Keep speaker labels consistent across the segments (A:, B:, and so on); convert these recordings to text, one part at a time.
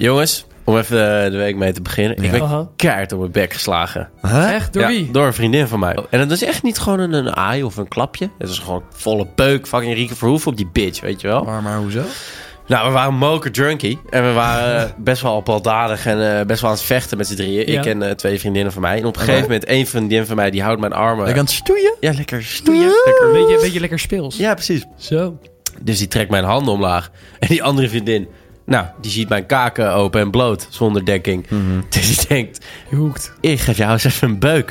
A: Jongens, om even eh, de week mee te beginnen. Ik
B: Ja.
A: ben
B: Aha.
A: keihard op mijn bek geslagen.
B: Echt? Door
A: Ja,
B: wie? Oh.
A: Door een vriendin van mij. En dat is echt niet gewoon een, een aai of een klapje. Het is gewoon volle peuk. Fucking Rieke Verhoeven op die bitch, weet je wel.
B: Maar, maar hoezo?
A: Nou, we waren moker drunkie. En we waren eh, best wel baldadig en eh, best wel aan het vechten met z'n drieën.
B: Ja.
A: Ik en eh, twee vriendinnen van mij. En op een gegeven moment, één vriendin van mij, die houdt mijn armen.
B: het stoeien?
A: Ja, lekker stoeien. Lekker...
C: Beetje, beetje lekker speels.
A: Ja, precies.
C: Zo.
A: Dus die trekt mijn handen omlaag. En die andere vriendin, nou, die ziet mijn kaken open en bloot, zonder dekking.
B: Mhm.
A: Dus die denkt,
C: Je hoekt.
A: Ik geef jou eens even een beuk.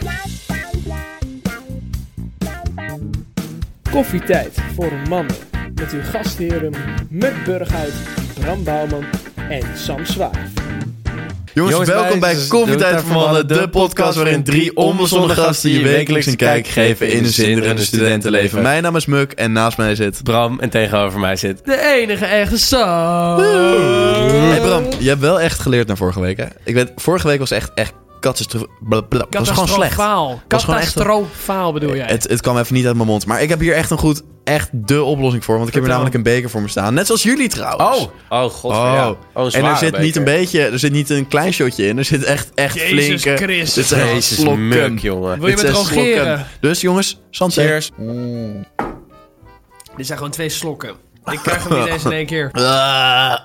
D: Koffietijd voor mannen. Met uw gastheren Muk Burghuis, Bram Bouwman en Sam Zwaar.
B: Jongens,
A: Jongens,
B: welkom
A: meisjes,
B: bij Koffietijd voor Mannen, de podcast waarin drie onbezonde gasten je wekelijks een kijk geven in een zinderende studentenleven. Mijn naam is Muk en naast mij zit...
A: Bram en tegenover mij zit.
C: De enige echte Sam.
B: Hey Bram, je hebt wel echt geleerd naar vorige week, hè? Ik weet, vorige week was echt, echt katastrof... bla- bla- was gewoon slecht.
C: Katastrofaal.
B: Was gewoon echt-
C: Katastrofaal bedoel jij.
B: Het, het kwam even niet uit mijn mond. Maar ik heb hier echt een goed, echt de oplossing voor. Want ik heb hier
C: Vertel.
B: namelijk een beker voor me staan. Net zoals jullie trouwens.
A: Oh, god.
B: Oh.
A: ja. een
B: en er
A: zware
B: zit niet
A: beker.
B: een beetje, er zit niet een klein shotje in. Er zit echt, echt
C: Jezus
B: flinke.
C: Christus.
B: Dit zijn
A: Jezus,
B: slokken.
A: muk, jongen.
C: Wil je
B: Dit
C: met
B: zijn slokken.
C: drogeren?
B: Dus jongens, Santé.
A: Cheers.
C: Dit zijn gewoon twee slokken. Ik krijg hem niet eens in één keer.
A: Oh.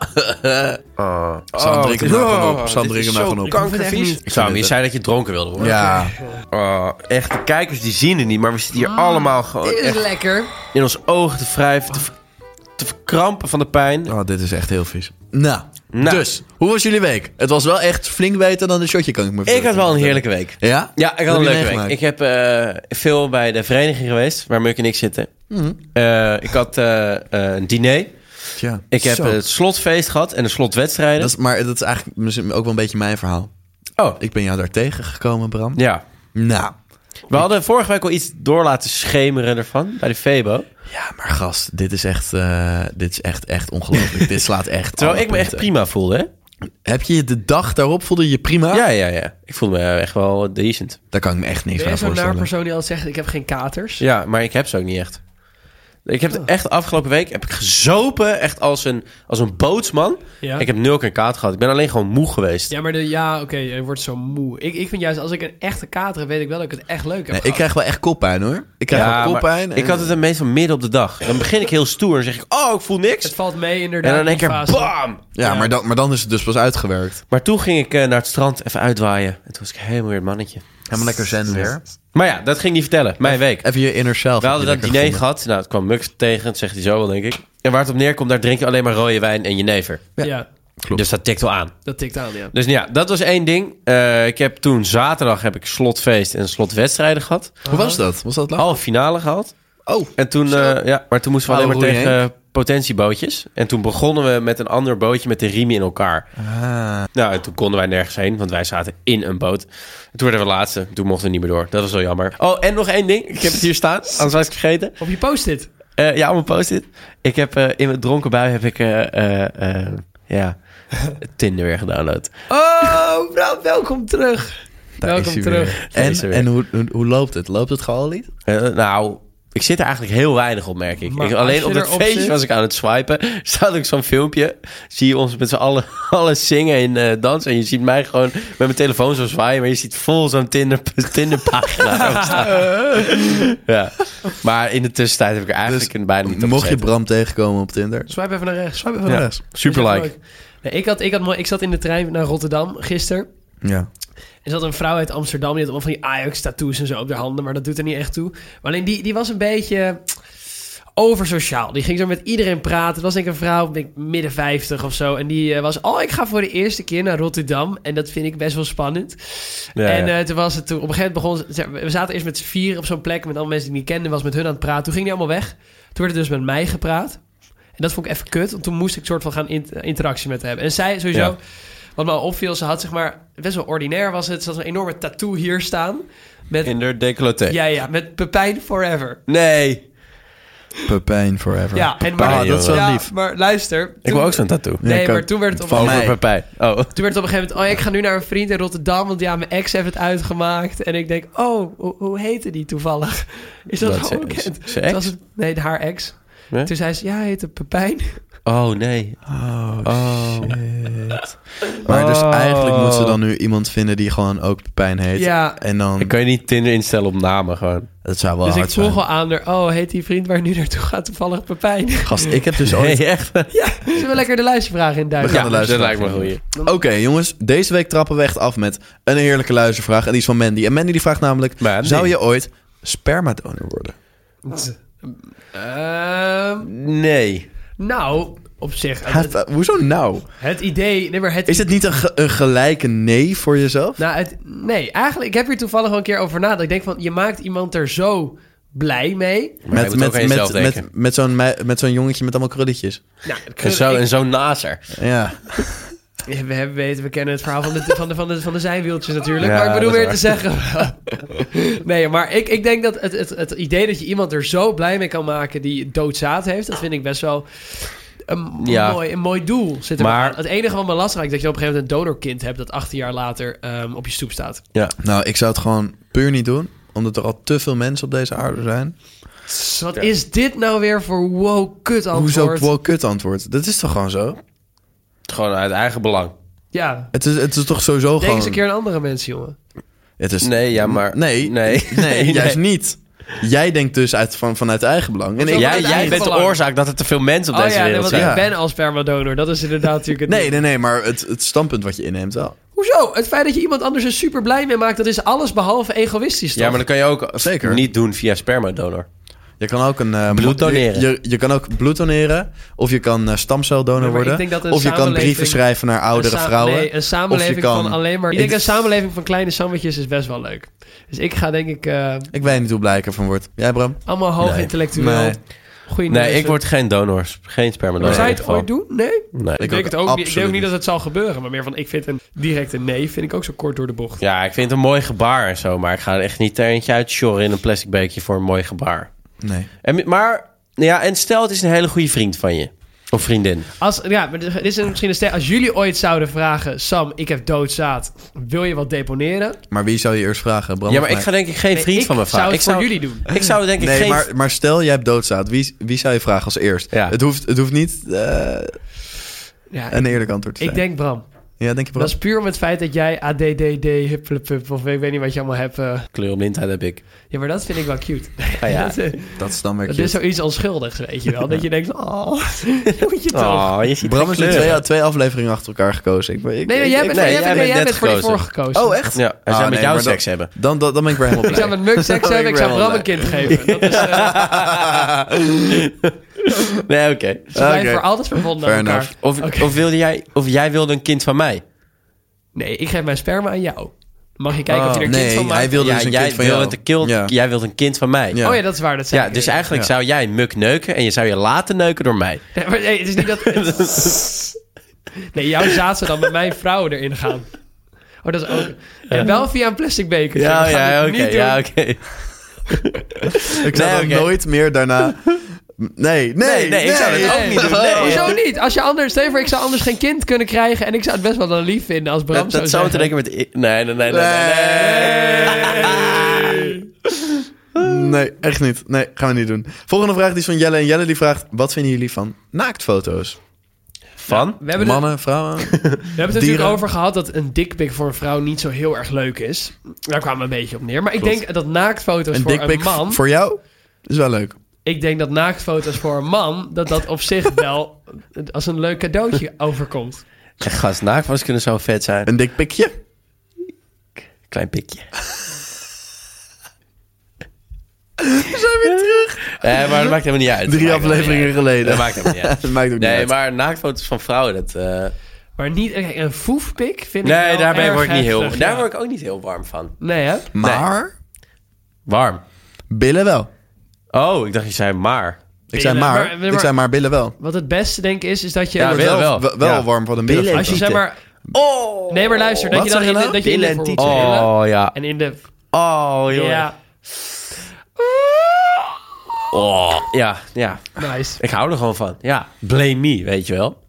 B: Sam, drink hem nou gewoon op. Sam,
A: dit
B: drink hem
A: is
B: nou
A: zo
B: gewoon op.
A: kankervies.
C: Ik
A: Ik zou hem niet
B: het.
A: zei dat je dronken wilde worden.
B: Ja.
A: Oh, echt, de kijkers die zien het niet, maar we zitten hier allemaal gewoon
C: Dit is
A: echt
C: lekker.
A: in ons ogen te wrijven, te, ver- te verkrampen van de pijn.
B: Oh, dit is echt heel vies. Nou,
A: Nou.
B: dus, hoe was jullie week? Het was wel echt flink beter dan een shotje, kan ik me
A: Ik had wel een
B: voorstellen.
A: heerlijke week.
B: Ja?
A: Ja, ik had
B: Wat
A: een leuke
B: heb je
A: week.
B: meegemaakt?
A: Ik heb eh, veel bij de vereniging geweest, waar Muk en ik zitten. Eh, ik had eh, eh, een diner.
B: Tja,
A: Ik heb
B: zo.
A: het slotfeest gehad en de slotwedstrijden.
B: Dat is, maar dat is eigenlijk misschien ook wel een beetje mijn verhaal.
A: Oh,
B: Ik ben jou daar tegengekomen, Bram.
A: ja.
B: Nou,
A: We hadden vorige week al iets door laten schemeren ervan bij de Febo.
B: ja, maar gast, dit is echt, eh, dit is echt, echt ongelooflijk. dit slaat echt
A: Terwijl
B: alle
A: ik me echt
B: punten.
A: prima voelde, hè?
B: Heb je je de dag daarop voelde je je prima?
A: Ja, ja, ja. Ik voelde me echt wel decent.
B: Daar kan ik me echt niks
C: Ben jij
B: aan
C: zo'n naar
B: voorstellen.
C: persoon die altijd zegt, ik heb geen katers?
A: Ja, maar ik heb ze ook niet echt. Ik heb het echt afgelopen week heb ik gezopen, echt als een, als een bootsman.
C: Ja.
A: Ik heb nul keer kaart gehad. Ik ben alleen gewoon moe geweest.
C: Ja, maar de, ja, oké, je wordt zo moe. Ik, ik vind juist, als ik een echte kater heb, weet ik wel dat ik het echt leuk heb.
B: Nee, ik
C: gehad.
B: krijg wel echt koppijn hoor. Ik krijg
A: Ja,
B: wel
A: maar
B: koppijn.
A: Ik
B: en-
A: had het meestal midden op de dag. Dan begin ik heel stoer en zeg ik, oh, ik voel niks.
C: Het valt mee inderdaad.
A: En dan in één
C: die
A: keer,
C: fase.
A: bam!
B: ja, Maar, dan, maar dan is het dus pas uitgewerkt.
A: Maar toen ging ik eh, naar het strand even uitwaaien. En toen was ik helemaal weer het mannetje.
B: Helemaal lekker zen weer.
A: Maar ja, dat ging ik niet vertellen. Mijn week.
B: Even je inner self.
A: We hadden dat
B: heb je
A: diner
B: lekker gevonden.
A: gehad. Nou, het kwam Mux tegen. Dat zegt hij zo wel, denk ik. En waar het op neerkomt, daar drink je alleen maar rode wijn en jenever.
C: Ja.
A: Dus dat tikt wel aan.
C: dat tikt aan, ja.
A: Dus ja, dat was één ding. Eh, ik heb toen zaterdag heb ik slotfeest en slotwedstrijden gehad.
B: Hoe was dat? Was dat lang?
A: Halve finale gehad.
B: Oh.
A: En toen, eh, ja, maar toen moesten we alleen
B: Oude
A: maar
B: roeien,
A: tegen eh, potentiebootjes. En toen begonnen we met een ander bootje met de riemen in elkaar. Nou, en toen konden wij nergens heen, want wij zaten in een boot. En toen werden we laatste. Toen mochten we niet meer door. Dat was wel jammer. Oh, en nog één ding. Ik heb het hier staan, anders was ik het vergeten.
C: Op je post-it.
A: Eh, ja, op mijn post-it. Ik heb eh, in mijn dronken bui heb ik, eh, eh, eh, ja, Tinder weer gedownload.
C: Oh, Bram, welkom terug.
B: Daar is
C: welkom
B: hij
C: terug.
B: weer.
A: Daar is hij
B: En,
A: weer.
B: en hoe, hoe, hoe loopt het? Loopt het gewoon al niet?
A: Eh, nou, ik zit er eigenlijk heel weinig op, merk ik.
C: Maar
A: ik
C: als
A: alleen
C: je
A: op dat
C: erop
A: feestje
C: zit-
A: was ik aan het swipen. Staat ook zo'n filmpje. Zie je ons met z'n allen, allen zingen en eh, dansen. En je ziet mij gewoon met mijn telefoon zo zwaaien. Maar je ziet vol zo'n Tinder, Tinderpagina. erop staan. ja. Maar in de tussentijd heb ik er eigenlijk een bijna niet op
B: Mocht je
A: gezeten.
B: Bram tegenkomen op Tinder?
C: Swipe even naar rechts. Swipe even
B: Ja.
C: naar
A: Ja,
C: rechts.
A: super
C: Dat is
A: like.
C: echt leuk. Nee, ik, had, ik, had, mooi- ik zat in de trein naar Rotterdam gisteren.
B: Ja.
C: Er zat een vrouw uit Amsterdam. Die had allemaal van die Ajax-tattoos en zo op haar handen. Maar dat doet er niet echt toe. Maar alleen die, die was een beetje oversociaal. Die ging zo met iedereen praten. Het was denk ik een vrouw, ik denk midden 50 of zo. En die eh, was, oh, ik ga voor de eerste keer naar Rotterdam. En dat vind ik best wel spannend.
A: Ja,
C: en
A: ja.
C: eh, toen was het, toen, op een gegeven moment begon... ze- We zaten eerst met z'n vier op zo'n plek met allemaal mensen die ik niet kende. was met hun aan het praten. Toen ging die allemaal weg. Toen werd er dus met mij gepraat. En dat vond ik even kut. Want toen moest ik soort van gaan in- interactie met haar hebben. En zij sowieso...
A: Ja.
C: Wat me al opviel, ze had zeg maar... Best wel ordinair was het. Ze had een enorme tattoo hier staan. Met,
A: in de decolleté.
C: ja, ja, met Pepijn Forever.
A: Nee.
B: Pepijn forever.
C: Ja, en
A: Pepijn, dat is wel
C: ja,
B: lief.
C: maar luister...
A: Ik wil ook zo'n tattoo.
B: Ja,
C: Nee,
B: ik
C: maar
B: ook.
C: toen werd het op
B: Van
C: een
A: Over
B: mij.
A: Pepijn. Oh.
C: Toen werd het op een gegeven moment, oh ja, ik ga nu naar een vriend in Rotterdam, want ja, mijn ex heeft het uitgemaakt. En ik denk, oh, hoe, hoe heette die toevallig? Is dat,
A: Wat,
C: gewoon
A: ze-
C: bekend?
A: ze- ze
C: Toen
A: ex?
C: was het- nee, haar ex.
A: Nee?
C: Toen zei ze, ja, hij heette Pepijn.
A: Oh nee.
B: Oh,
A: Oh.
B: shit. Maar dus eigenlijk moet ze dan nu iemand vinden die gewoon ook Pepijn heet.
C: Ja.
B: En dan,
A: Dan kan je niet Tinder instellen op namen gewoon.
B: dat zou wel
C: Dus ik
B: hard
C: vroeg
B: zijn.
C: al aan haar, oh, heet die vriend waar je nu naartoe gaat toevallig Pepijn?
B: Gast, ik heb dus ooit...
A: Nee, echt.
C: Zullen we lekker de luistervraag induiken?
B: We gaan
A: Ja,
B: de
A: dat
B: luisteraar
A: lijkt me een
B: vinden.
A: goeie.
B: Oké, jongens. Deze week trappen we echt af met een heerlijke luistervraag. En die is van Mandy. En Mandy die vraagt namelijk...
A: Mandy.
B: Zou je ooit spermadonor worden?
C: Ehm,
A: Nee.
C: nou, op zich. Het,
B: Ha, hoezo nou?
C: het idee, nee, maar het
B: Is het niet een, ge- een gelijke nee voor jezelf?
C: Nou, het, nee, eigenlijk, ik heb hier toevallig wel een keer over nagedacht. Ik denk van, je maakt iemand er zo blij mee.
A: Maar je moet ook aan jezelf
B: met,
A: denken.
B: met, met zo'n mei- met zo'n jongetje met allemaal krulletjes.
C: Nou,
A: En zo, en zo nazer.
B: Ja.
C: ik- we, hebben, weten, we kennen het verhaal van de, van de, van de, van de zijwieltjes natuurlijk.
A: Ja,
C: maar ik bedoel
A: dat is
C: weer te zeggen... nee, maar ik, ik denk dat het, het, het idee dat je iemand er zo blij mee kan maken... die doodzaad heeft, dat vind ik best wel... Een,
A: Ja.
C: mooi, een mooi doel zit er
A: Maar-
C: aan. Het enige wat me lastig lijkt... is dat je op een gegeven moment een donorkind hebt... dat 18 jaar later ehm, op je stoep staat.
B: Nou, ik zou het gewoon puur niet doen. Omdat er al te veel mensen op deze aarde zijn.
C: Wat is dit nou weer voor wow kut
B: Hoezo
C: antwoord?
B: wel kut antwoord? Dat is toch gewoon zo?
A: Gewoon uit eigen belang.
C: Ja,
B: Het is, het is toch sowieso
C: denk
B: gewoon...
C: eens een keer aan andere mensen, jongen.
B: Het is...
A: Nee, ja, maar...
B: Nee,
A: Nee.
B: nee, juist niet. Jij denkt dus uit, van, vanuit eigen belang. En ik,
C: Zo-
A: Jij,
C: Vanuit
A: jij
C: eigen
A: bent de
C: belang.
A: oorzaak dat er te veel mensen op
C: Oh
A: deze
C: ja, nee,
A: wereld
C: want
A: zijn.
B: ja.
C: ik ben al spermadonor. Dat is inderdaad natuurlijk het
B: nee,
C: ding.
B: nee, nee, maar het, het standpunt wat je inneemt wel.
C: Hoezo? Het feit dat je iemand anders er super blij mee maakt, dat is alles behalve egoïstisch, toch?
A: Ja, maar dat kan je ook
C: Oh,
B: Zeker.
A: niet doen via spermadonor.
B: Je kan ook een... eh,
A: Bloed doneren.
B: Je, je, je kan ook bloed doneren. Of je kan eh, stamceldonor
C: Nee, maar ik
B: worden.
C: denk dat een
B: of je kan brieven
C: samenleving-
B: schrijven naar
C: Een
B: oudere
C: sa-
B: vrouwen.
C: Nee, een samenleving
B: Of je kan-
C: van alleen maar... Ik
B: Ik-
C: denk een samenleving van kleine sandwiches is best wel leuk. Dus ik ga denk ik eh,
B: Ik weet niet hoe blij ik ervan word. Jij, Bram?
C: allemaal hoog intellectueel.
B: Nee.
C: Goeie
A: Nee,
C: mensen.
A: ik word geen donor. Geen spermadonor.
C: Maar zou je
A: in
C: het
A: ieder
C: ooit
A: geval.
C: doen? Nee?
A: Nee.
C: Ik
B: Ik
C: denk
B: ook
C: het ook niet. Ik denk
B: absoluut
C: ook niet
B: niet.
C: dat het zal gebeuren. Maar meer van, ik vind een directe nee, vind ik ook zo kort door de bocht.
A: Ja, ik vind het een mooi gebaar en zo. Maar ik ga er echt niet er eentje uitshorren in een plastic beekje voor een mooi gebaar.
B: Nee.
A: En, maar, ja, en stel het is een hele goede vriend van je. Of vriendin.
C: Als, ja, maar dit is misschien een stel. Als jullie ooit zouden vragen, Sam, ik heb doodzaad, wil je wat deponeren?
B: Maar wie zou je eerst vragen? Bram
A: Ja,
B: of
A: maar ik
B: mij?
A: ga denk ik geen
C: Nee,
A: vriend
C: ik
A: van me vragen.
C: zou het
A: ik,
C: voor
A: zou,
C: jullie doen.
A: ik zou denk ik
B: Nee,
A: geen...
B: maar, maar stel jij hebt doodzaad. Wie, wie zou je vragen als eerst?
A: Ja.
B: Het, hoeft, het hoeft niet eh,
C: Ja,
B: een eerlijk antwoord te
C: ik
B: zijn.
C: denk Bram.
B: Ja, denk je Bram?
C: Dat is puur om het feit dat jij ADDD, hupplepup, of ik weet niet wat je allemaal hebt. eh.
A: Kleurblindheid heb ik.
C: Ja, maar dat vind ik wel cute.
A: Ah, ja.
C: dat, eh,
B: Dat is dan weer
C: dat
B: Oh cute.
C: is zoiets onschuldigs, weet je wel. Dat je denkt, oh, moet je toch.
A: Oh, je ziet
B: Bram
A: Bram
B: is nu twee, twee afleveringen achter elkaar gekozen. Ik, ik,
C: Nee, maar
B: ik-
C: jij
B: ik-
C: bent,
A: nee,
C: jij
A: jij
C: bent,
A: bent
C: jij
A: net
C: bent voor die
A: gekozen.
C: voor gekozen.
B: Oh, echt?
A: Ja, hij zou
B: Ah,
A: met
B: nee,
A: jou
B: maar dat-
A: seks hebben.
B: Dan, dan, dan ben ik weer helemaal
C: Ik zou
B: blij.
C: met Muk seks
B: ben
C: hebben,
B: Oh, ik
C: ik zou
B: wel
C: Bram
B: blij.
C: een kind geven. Dat is, eh,
A: Nee, oké.
C: ze blijven
B: Oké.
C: voor altijd verbonden aan
B: Fair
C: elkaar.
B: enough.
A: Of,
C: Oké.
A: of, wilde jij, of jij wilde een kind van mij?
C: Nee, ik geef mijn sperma aan jou. Mag je kijken of je er een kind
B: Oh, nee,
C: van maakt?
B: hij wilde
A: ja,
B: dus een
A: jij
B: kind van
A: wilde
B: jou.
A: een kind-
B: Ja.
A: Jij wilde een kind van mij.
B: Ja.
A: Ja,
C: Oh ja, dat is waar. Dat zei ik.
A: dus eigenlijk zou jij Muk neuken en je zou je laten neuken door mij.
C: Nee, maar nee, het is niet dat... Nee, jouw zaad zou dan met mijn vrouw erin gaan. Oh, dat is ook... En wel via een plastic beker.
A: Ja,
C: We gaan
A: ja,
C: het
A: oké.
C: niet doen.
A: ja, oké.
B: Ik zou
A: Nee,
B: dan
A: oké.
B: nooit meer daarna... Nee, nee, nee.
A: nee, ik zou dat ook niet doen. Nee,
B: Oh.
C: Hoezo niet? Als je anders... Stel je voor, ik zou anders geen kind kunnen krijgen... en ik zou het best wel dan lief vinden als Bram
A: Dat, dat zou
C: zou
A: te denken met... Nee, nee, nee, nee. nee,
B: Nee. Nee, echt niet. Nee, gaan we niet doen. Volgende vraag die is van Jelle. En Jelle die vraagt, wat vinden jullie van naaktfoto's?
A: Van?
C: We hebben, het,
B: Mannen, vrouwen?
C: we hebben het natuurlijk
B: dieren.
C: over gehad dat een dikpik voor een vrouw niet zo heel erg leuk is. Daar kwamen we een beetje op neer. Maar ik denk dat naaktfoto's
B: Een
C: voor een
B: dikpik
C: man...
B: voor jou? Is wel leuk.
C: Ik denk dat naaktfoto's voor een man... dat dat op zich wel als een leuk cadeautje overkomt.
A: Echt, Gast, naaktfoto's kunnen zo vet zijn.
B: Een dikpikje?
A: Klein pikje.
B: We zijn weer terug.
A: Eh, maar dat maakt helemaal niet uit.
B: Drie
A: Dat maakt helemaal
B: afleveringen
A: niet uit.
B: geleden.
A: Dat maakt helemaal niet uit.
B: Dat maakt ook niet
A: Nee,
B: uit.
A: maar naaktfoto's van vrouwen, dat... eh,
C: Maar niet kijk, een foefpik vind ik
A: Nee,
C: wel
A: daarbij
C: erg
A: word ik niet heel...
C: heftig,
A: Daar
C: ja.
A: word ik ook niet heel warm van.
C: Nee, hè?
B: Maar
A: Warm.
B: billen wel.
A: Oh, ik dacht je zei maar.
B: Ik zei
C: Billen,
B: maar,
C: maar- maar-
B: ik zei maar billen wel.
C: Wat het beste denk ik is, is dat je...
A: Ja,
B: Ik word
A: billen wel.
B: Wel, wel
A: Ja.
B: warm van een
A: Billen
B: billen.
C: als je
A: en
C: zeg
A: tieten.
C: maar...
A: Oh!
C: Nee, maar luister.
B: Wat
C: Dat je dan
B: zeg
C: in
B: je
C: de,
B: nou?
C: dat je in de
A: Billen en
C: bijvoorbeeld
A: tieten.
C: billen
A: Oh, ja.
C: En in de...
A: Oh, joh.
C: Ja,
A: Oh. Ja, ja.
C: nice.
A: Ik hou er gewoon van. Ja. Blame me, weet je wel.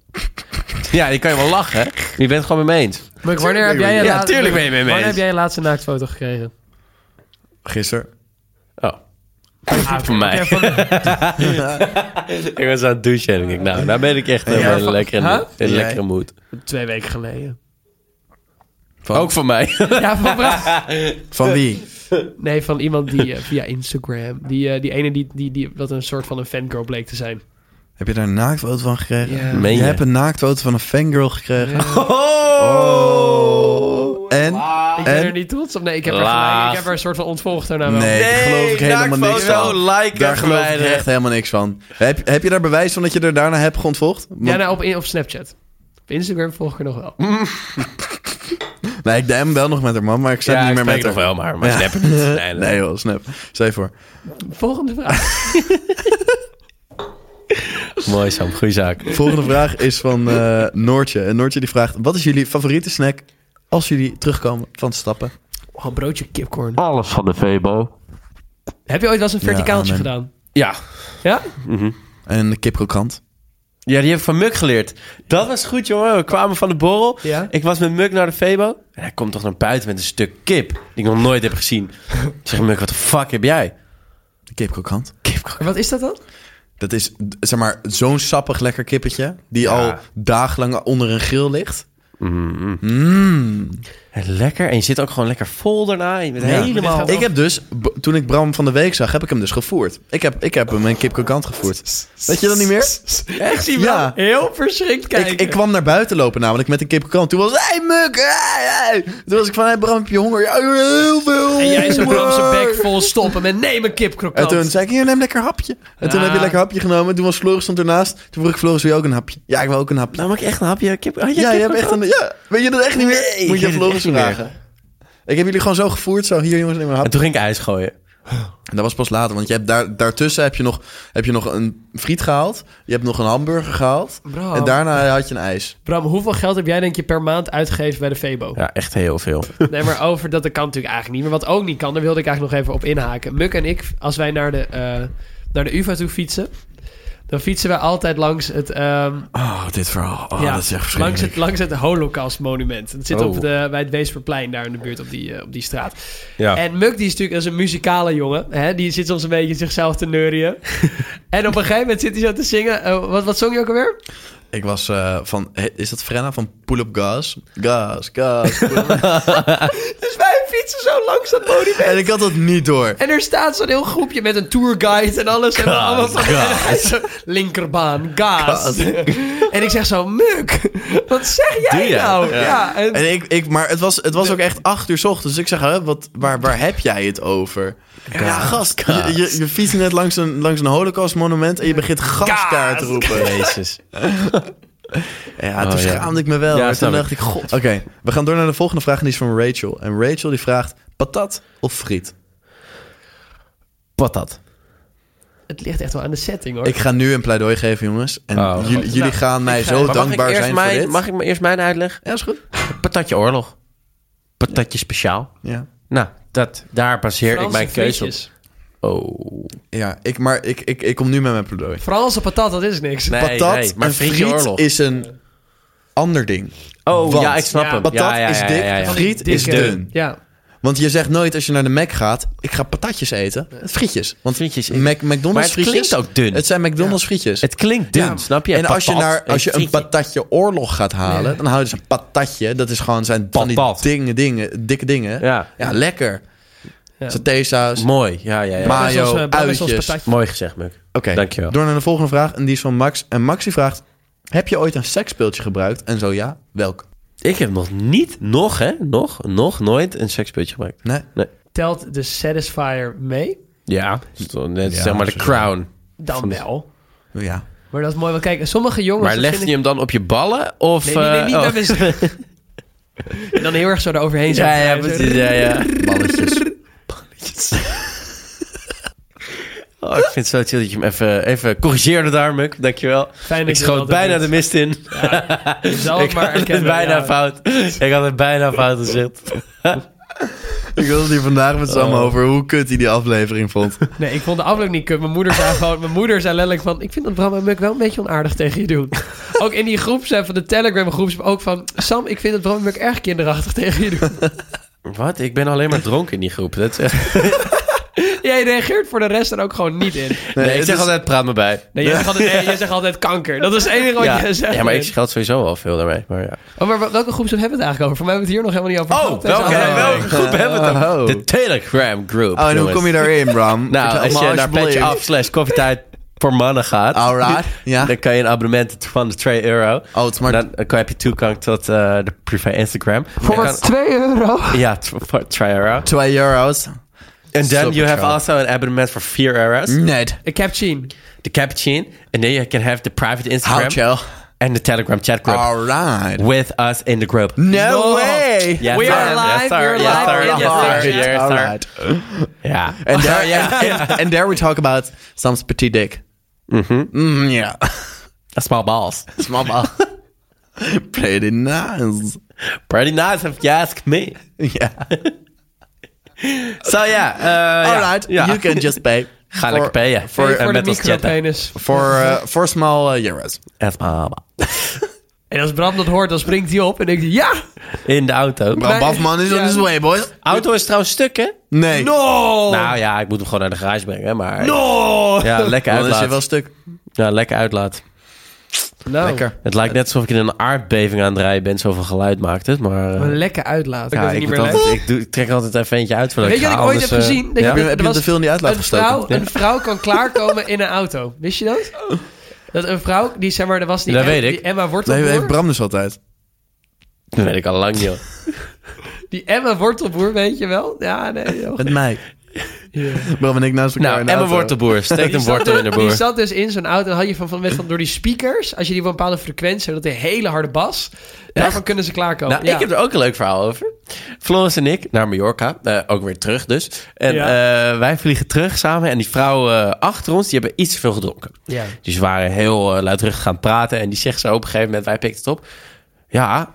A: ja, die kan je wel lachen, hè. Je bent het gewoon met me eens.
C: Maar wanneer heb jij... je
A: Ja,
C: laat-
A: tuurlijk ben je mee mee
C: Wanneer
A: eens.
C: heb jij je laatste naaktfoto gekregen?
B: Gisteren.
A: Oh.
C: Ah,
A: Voor mij.
C: oké, van-
A: ik was aan het douchen en ik denk, nou, daar ben ik echt helemaal in een lekkere,
C: Huh?
A: in een
B: Jij?
A: lekkere mood.
C: twee weken geleden.
B: Van,
A: Ook voor mij.
C: Ja, van Bra-
B: van wie?
C: Nee, van iemand die eh, via Instagram. Die, eh, die ene die, die, die dat een soort van een fangirl bleek te zijn.
B: Heb je daar een naaktfoto van gekregen?
C: Ja.
A: Meen
B: je,
A: je?
B: hebt een naaktfoto van een fangirl gekregen. Oh. En?
C: Ik ben
B: En?
C: er niet trots op. Nee, ik heb, haar
A: Laag.
C: gelijk- ik heb haar een soort van ontvolgd daarna wel.
B: Nee, daar geloof ik helemaal niks
A: naaktfoto,
B: van.
A: like en
B: Daar geloof ik
A: verwijderen.
B: echt helemaal niks van. Heb, heb je daar bewijs van dat je er daarna hebt geontvolgd? Want-
C: Ja, nou, op, in- op Snapchat. Op Instagram volg ik er nog wel.
B: Nee, ik DM wel nog met haar man, maar ik zet
A: Ja,
B: niet
A: ik
B: meer
A: spreek
B: met
A: nog
B: haar.
A: wel, maar, maar
B: Ja.
A: snap het niet. Nee, nee.
B: Nee joh, snap. Stel je voor.
C: Volgende vraag.
A: Mooi Sam, goeie zaak.
B: Volgende vraag is van eh, Noortje. En Noortje die vraagt, wat is jullie favoriete snack als jullie terugkomen van stappen?
C: Oh, een broodje kipcorn.
A: Alles van de Vebo.
C: Heb je ooit wel eens een
B: Ja,
C: verticaaltje
B: amen.
C: gedaan?
A: Ja.
C: Ja?
B: En de kiprokant.
A: Ja, die heb ik van Muk geleerd. Dat was goed, jongen. We kwamen van de borrel.
C: Ja.
A: Ik was met Muk naar de Febo. En hij komt toch naar buiten met een stuk kip. Die ik nog nooit heb gezien. Ik zeg, Muk, wat de fuck heb jij?
B: De kiprokant.
C: En Wat is dat dan?
B: Dat is, d- zeg maar, zo'n sappig lekker kippetje die
A: Ja.
B: al dagenlang onder een grill ligt. Mm.
A: En lekker. En je zit ook gewoon lekker vol daarna. Je bent
B: Ja.
A: helemaal...
B: Ik heb dus, b- toen ik Bram van de Week zag, heb ik hem dus gevoerd. Ik heb, ik heb hem een kipkrokant gevoerd. Weet je dat niet meer?
C: Ik zie
B: wel Ja.
C: heel verschrikt kijken.
B: Ik, ik kwam naar buiten lopen namelijk met een kipkrokant. Toen was hij, hey, muk, hey, hey." Toen was ik van, hey, Bram, heb je honger? Ja, heel veel
C: En jij zo'n
B: honger."
C: Bramse bek vol stoppen met neem een kipkrokant.
B: En toen zei ik, hier, neem lekker een hapje. En toen
C: Ja.
B: heb je een lekker hapje genomen. Toen was Floris stond ernaast. Toen vroeg ik, Floris, wil je ook een hapje? Ja, ik wil ook een hapje.
A: Nou, maak ik echt een hapje kip. Had jij
B: ja, je hebt
A: kipkroket?
B: echt een... Ja, weet je dat echt niet meer?
A: Nee,
B: Moet
A: ik
B: je
A: weet het
B: aan Floris
A: echt niet meer.
B: vragen. Ik heb jullie gewoon zo gevoerd, zo, hier jongens, neem een
A: En
B: hapje.
A: toen ging ik ijs gooien.
B: En dat was pas later, want je hebt daar, daartussen heb je, nog, heb je nog een friet gehaald. Je hebt nog een hamburger gehaald.
A: Oh.
C: Bram.
B: En daarna had je een ijs.
C: Bram, hoeveel geld heb jij denk je per maand uitgegeven bij de Febo?
A: Ja, echt heel veel.
C: Nee, maar over dat, dat kan natuurlijk eigenlijk niet. Maar wat ook niet kan, daar wilde ik eigenlijk nog even op inhaken. Muk en ik, als wij naar de, eh, naar de UvA toe fietsen... dan fietsen wij altijd langs het... ehm,
B: Oh, dit verhaal. Oh,
C: ja,
B: dat
C: langs
B: is echt verschrikkelijk.
C: het, langs het Holocaust monument. Dat zit
A: Oh.
C: op de, bij het Weesperplein daar in de buurt op die, eh, op die straat.
A: Ja.
C: En Muk die is natuurlijk als een muzikale jongen. Hè? Die zit soms een beetje zichzelf te neurien. en op een gegeven moment zit hij zo te zingen. eh, wat, wat zong je ook alweer?
B: Ik was eh, van... he- Is dat Frenna van Pull Up Gas? Gas, gas. pull up.
C: Dus wij fietsen zo langs dat monument.
B: en ik had dat niet door.
C: En er staat zo'n heel groepje met een tourguide en alles. en allemaal van en zo, linkerbaan, gaas.
B: Gaas.
C: en ik zeg zo, Muk, wat zeg jij
A: Doe je?
C: nou? Ja,
A: Ja.
C: en,
B: En ik, ik, maar het was, het was ook echt acht uur 's ochtends. Dus ik zeg, hè, wat, waar, waar heb jij het over? Ja, gast. Je, je, je fietst net langs een, langs een holocaustmonument en je begint gaskaart te roepen.
A: Jezus.
B: Ja,
A: Oh,
B: toen
A: ja.
B: schaamde ik me wel.
A: Ja,
B: maar
A: snap
B: toen
A: ik.
B: dacht ik, god. Oké, we gaan door naar de volgende vraag en die is van Rachel. En Rachel die vraagt, patat of friet?
A: Patat.
C: het ligt echt wel aan de setting hoor.
B: Ik ga nu een pleidooi geven, jongens. En
A: Oh,
B: jullie,
A: god.
B: jullie
C: Nou,
B: gaan mij
C: ik ga-
B: zo
A: Maar mag ik,
B: dankbaar
A: eerst
B: zijn
A: mijn,
B: voor dit.
A: mag ik me eerst mijn uitleg?
B: Ja, is goed.
A: Patatje oorlog. Patatje speciaal.
B: Ja.
A: Nou, dat, daar baseer ik
C: Franse
A: mijn keuze op.
C: frietjes.
A: Oh.
B: Ja, ik, maar ik, ik, ik kom nu met mijn pleidooi.
C: Franse patat, dat is niks.
A: Nee,
B: patat
A: nee, maar
B: en
A: frietje
B: friet
A: oorlog.
B: is een ander ding.
A: Oh,
B: Want-
A: ja, ik snap
C: Ja.
A: hem.
B: Patat
A: ja, ja,
B: is
A: ja,
B: dik,
A: ja, ja.
B: friet
C: Dikke-
B: is dun.
C: Ja,
B: Want je zegt nooit als je naar de Mac gaat, ik ga patatjes eten. Frietjes. Want
A: Frietjes.
B: Mac, McDonald's
A: Maar het
B: frietjes.
A: klinkt ook dun.
B: Het zijn McDonald's frietjes.
A: Het klinkt dun,
B: Ja.
A: snap je?
B: en als je,
A: Patat, eh,
B: naar, als je een
A: frietje.
B: patatje oorlog gaat halen, dan houden ze een patatje. Dat is gewoon zijn van die
A: Patat.
B: dingen, dingen, dikke dingen.
A: Ja.
B: lekker.
C: Ja.
B: Satésaus.
A: Mooi, ja, ja, ja.
C: Bram
B: Maar-
C: is ons,
B: Mayo,
C: eh, Bram is ons
B: uitjes.
C: patatje.
A: Mooi gezegd, Muk.
B: Oké,
A: Dankjewel.
B: door naar de volgende vraag. En die is van Max. En Max die vraagt, heb je ooit een seksspeeltje gebruikt? En zo ja, welk?
A: Ik heb nog niet, nog hè, nog, nog nooit een seksputje gebruikt.
B: Nee.
C: Telt de Satisfier mee?
A: Ja, net
B: Ja,
A: zeg maar de
B: zo-
A: crown.
C: Dan
A: Van-
C: wel.
B: Ja.
C: Maar dat is mooi. Want kijk, sommige jongens...
A: Maar
C: dat
A: legde
C: vind
A: je hem dan op je ballen? Of,
C: ik- Nee, nee, nee,
A: eh,
C: niet
A: oh.
C: bij mijn- En dan heel erg zo eroverheen
A: Ja, ja,
C: zo-
A: precies, ja, ja.
B: Balletjes.
A: Oh, ik vind het zo chill dat je hem even, even corrigeerde daar, Muk. Dankjewel.
C: Fijn dat
A: Ik
C: je
A: schoot
C: dat
A: bijna
C: doet.
A: de mist in.
C: Je zal
B: Oh,
A: ik
C: het maar
A: had het
C: erkennen,
A: bijna
C: ja.
A: fout. Ik had het bijna fout gezegd.
B: Ik wilde het hier vandaag met Sam over hoe kut hij die aflevering vond.
C: Nee, ik vond de afloop niet kut. Mijn moeder zei gewoon... Mijn moeder zei letterlijk van... Ik vind dat Bram en Muk wel een beetje onaardig tegen je doen. ook in die groepsapp van de Telegram groeps ook van... Sam, ik vind dat Bram en Muk erg kinderachtig tegen je doen.
A: Wat? Ik ben alleen maar dronken in die groep. Dat is echt...
C: Jij reageert voor de rest er ook gewoon niet in.
A: Nee, ik
B: het
A: zeg
B: is-
A: altijd, praat me bij.
C: Nee, jij, zegt altijd, nee, jij zegt altijd kanker. Dat is het enige wat
A: Ja,
C: je zegt.
A: ja, maar ik scheld sowieso al veel daarmee. Maar ja.
C: Oh, maar welke groepsapp hebben we het eigenlijk over? Voor mij hebben we het hier nog helemaal niet over gehad. Deze
A: Oh, welke-
C: aflevering.
A: welke groep hebben we het
B: Oh.
A: dan? De Telegram groep.
B: Oh, en hoe
A: jongens.
B: kom je daarin, Bram?
A: Nou,
B: Vertel
A: als
B: me
A: je naar
B: alsjeblieft.
A: petje af slash koffietijd voor mannen gaat.
B: Alright, ja.
A: Dan kan je een abonnement van de 2 euro.
B: Oh, het is maar-
A: Dan kan, heb je toegang tot eh, de privé Instagram.
C: Voor
A: Dan
C: maar 2 euro.
A: kan- Ja, t- voor 2 euro.
B: 2 euro's.
A: En then you have
B: Supertrouw.
A: also an abonnement for 4 euro's.
B: Nee.
C: Ik heb Jean.
A: The cappuccino. And then you can have the private
B: Houd
A: Instagram.
B: je.
A: En de Telegram chat group.
B: Alright.
A: With us in the group.
B: No way.
A: Yes,
C: We
A: sir.
C: are
A: Yes,
C: live.
A: sir.
C: We are
A: Yes, sir.
C: live in
A: Yes,
C: the
A: sir.
C: chat.
A: Yes, sir.
B: Alright.
A: Ja.
B: And there, yeah, and, and there we talk about some petite dick. Mm-hmm. yeah.
A: Small balls.
B: Mama. Pretty nice.
A: Pretty nice if you ask me.
B: Yeah.
A: So yeah. eh, ja.
B: Alright.
A: Ja.
B: You can just pay.
A: Ga lekker payen.
C: Voor,
A: En
C: voor de
A: met ons chatten.
C: micropenis.
B: For, uh, for small uh, euros.
A: En small balls.
C: En als Bram dat hoort, dan springt hij op en denkt hij, ja!
A: In de auto.
B: Bram
C: Nee.
B: Bafman is
C: Ja.
B: on his way, boys.
A: Auto is trouwens stuk, hè?
B: Nee.
C: No!
B: Oh.
A: Nou ja, ik moet hem gewoon naar de garage brengen, hè, maar...
C: no!
A: Ja, lekker
B: Dan is
A: uitlaat.
B: je wel stuk.
A: Ja, lekker uitlaat.
C: Nou,
B: Lekker.
A: Het lijkt net alsof ik in een aardbeving aan het rijden ben. Zoveel geluid maakt het, maar... eh,
C: Een lekker uitlaten.
A: ja,
C: ik weet
A: ik,
C: het niet
A: moet
C: meer
A: altijd-
C: leuk.
A: ik, doe, ik trek altijd even eentje uit. voordat
C: Weet je
A: ga,
C: wat ik ooit
A: anders,
C: heb
A: eh,
C: gezien?
A: ja?
C: Dat
B: Heb je, heb je
C: was
B: te veel in die uitlaat
C: Een
B: gestoken?
C: vrouw, een vrouw kan klaarkomen in een auto. Wist je dat? Dat een vrouw, die zeg maar, er was die,
A: Dat weet ik.
C: die Emma
B: Nee,
C: Wortelboer.
B: dat heeft Bram dus altijd.
A: Dat weet ik al lang,
C: Nou,
A: joh.
C: Die Emma Wortelboer, weet je wel? Ja, nee. heel goed.
B: Met mij. Bram en ik naast elkaar
A: nou,
B: in de
A: Emma
B: auto.
A: wordt de boer. Steek
C: Die
A: een
C: zat
A: wortel in de
C: dus-
A: boer.
C: Die zat dus in zo'n auto en had je van, van, met van door die speakers, als je die op een bepaalde frequentie, dat een hele harde bas, daarvan kunnen ze klaarkomen.
A: Nou,
C: ja.
A: ik heb er ook een leuk verhaal over. Floris en ik naar Mallorca. eh, ook weer terug dus. En eh, wij vliegen terug samen. En die vrouw eh, achter ons, die hebben iets te veel gedronken.
C: Ja.
A: Dus ze waren heel eh, luidruchtig gaan praten. En die zegt zo op een gegeven moment, wij pikken het op. Ja,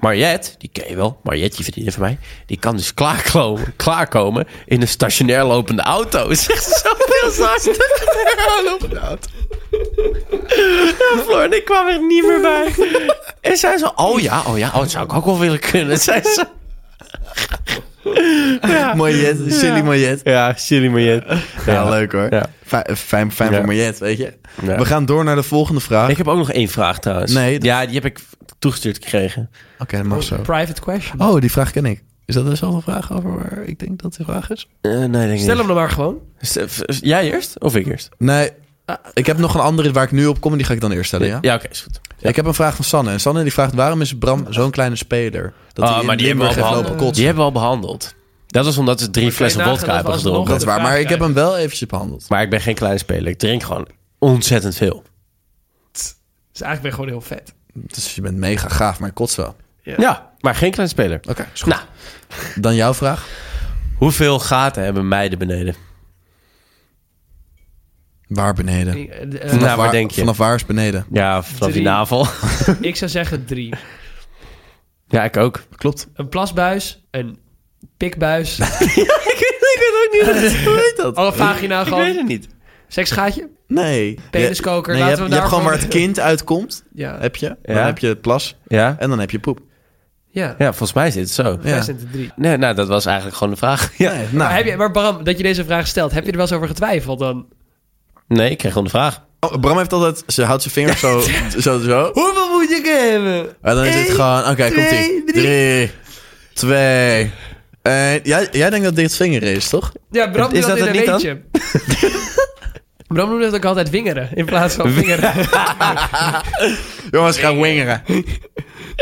A: Mariette, die ken je wel. Mariette, die vriendin van mij. Die kan dus klaarkomen, klaarkomen in een stationair lopende auto. Zegt ze zo veel zacht. Ja, Floor en ik kwam er niet meer bij. En zij zo, oh ja, oh ja, oh, dat zou ik ook wel willen kunnen. Zij zo,
B: Mojet, silly Mojet.
A: ja, silly Mariette.
B: Ja, leuk hoor.
A: Ja.
B: Fi- Fijn, fijn
A: Ja.
B: voor Mojet, weet je.
A: Ja.
B: We gaan door naar de volgende vraag.
A: Ik heb ook nog één vraag trouwens.
B: Nee, dat-
A: Ja, die heb ik toegestuurd gekregen.
B: Oké, dat mag zo.
C: Private question.
B: Oh, die vraag ken ik. Is dat dezelfde vraag over waar ik denk dat die vraag is?
A: Eh, nee, denk ik
C: Stel
A: niet.
C: hem dan maar gewoon.
A: Stel- Dus, eh, v- Jij eerst of ik eerst?
B: Nee, ik heb nog een andere waar ik nu op kom en die ga ik dan eerst stellen, ja?
A: Ja, oké, is goed. Ja.
B: Ik heb een vraag van Sanne. En Sanne die vraagt, waarom is Bram zo'n kleine speler? Dat
A: Oh,
B: hij in
A: maar die hebben, we
B: Limburg
A: al
B: heeft
A: behandeld.
B: lopen kotsen.
A: die hebben we al behandeld. Dat was omdat ze drie flessen
C: nagaan
A: vodka
C: dat we
A: hebben gedronken.
B: Dat is waar,
C: vraag
B: maar ik heb
C: krijgen.
B: hem wel eventjes behandeld.
A: Maar ik ben geen kleine speler. Ik drink gewoon ontzettend veel.
C: Dus eigenlijk ben je gewoon heel vet.
B: Dus je bent mega gaaf, maar ik kots wel. Oké,
A: Ja, maar geen kleine speler.
B: is goed.
A: Nou.
B: Dan jouw vraag.
A: Hoeveel gaten hebben meiden beneden?
B: Waar beneden?
C: Eh, eh,
A: Nou,
B: Vanaf
A: waar denk je?
B: Vanaf waar is beneden?
A: Ja, vanaf die
C: Drie.
A: navel.
C: ik zou zeggen drie.
A: ja, ik ook.
B: Klopt.
C: Een plasbuis, een pikbuis,
A: ik weet ook niet hoe heet dat.
C: alle vagina
A: Ik weet
C: nou gewoon.
A: het niet.
C: Seksgaatje?
B: Nee.
C: Peniskoker,
B: Je,
C: laten
B: nee, je, hebt,
C: we
B: je hebt
C: daar
B: gewoon waar
C: gewoon-
B: het kind uitkomt,
C: Ja.
B: heb je. Dan
A: Ja.
B: heb je het plas
A: Ja?
B: en dan heb je poep.
C: Ja.
A: Ja, Ah. volgens mij zit het zo.
C: Wij
B: Ja.
C: zijn er drie.
A: Nee, nou, dat was eigenlijk gewoon de vraag. Ja.
B: Nee,
C: Maar,
B: nou.
C: heb je, maar Bram, dat je deze vraag stelt, heb je er wel eens over getwijfeld dan?
A: Nee, ik kreeg gewoon de vraag.
B: Oh, Bram heeft altijd, ze houdt zijn vingers zo, zo, zo.
C: Hoeveel moet ik hebben?
B: En dan is het
C: Eén,
B: gewoon, oké, komt
C: twee,
B: ie. Drie, twee, één. Jij, jij denkt dat dit het vinger is, toch?
C: Ja, Bram doet
A: Is
C: dat,
A: dat
C: in
A: het
C: een
A: niet
C: beetje. Bram noemt het ook altijd wingeren in plaats van vingeren.
B: Jongens, ga wingeren.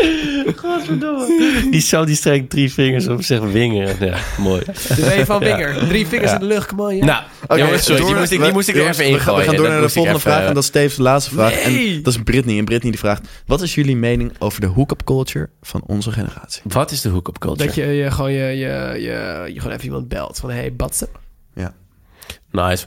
A: Die zou die streek drie vingers op zich wingeren. Ja, mooi.
C: Twee van vinger. Drie vingers
A: Ja.
C: in de lucht, come on, ja.
A: Nou, jongens, sorry, die moest ik, die moest ik er
B: jongens,
A: even
B: we gaan-
A: ingooien.
B: We gaan door
A: Dat
B: naar de
A: moest ik
B: volgende
A: even- eh,
B: vraag en dat is Steve's laatste vraag.
C: Nee!
B: En dat is Britney. En Britney die vraagt, wat is jullie mening over de hookup culture van onze generatie?
A: Wat is de hook-up culture?
C: Dat je, je gewoon, je, je, je, je gewoon even iemand belt van, hé, hey, batsen.
B: Ja.
A: Nice.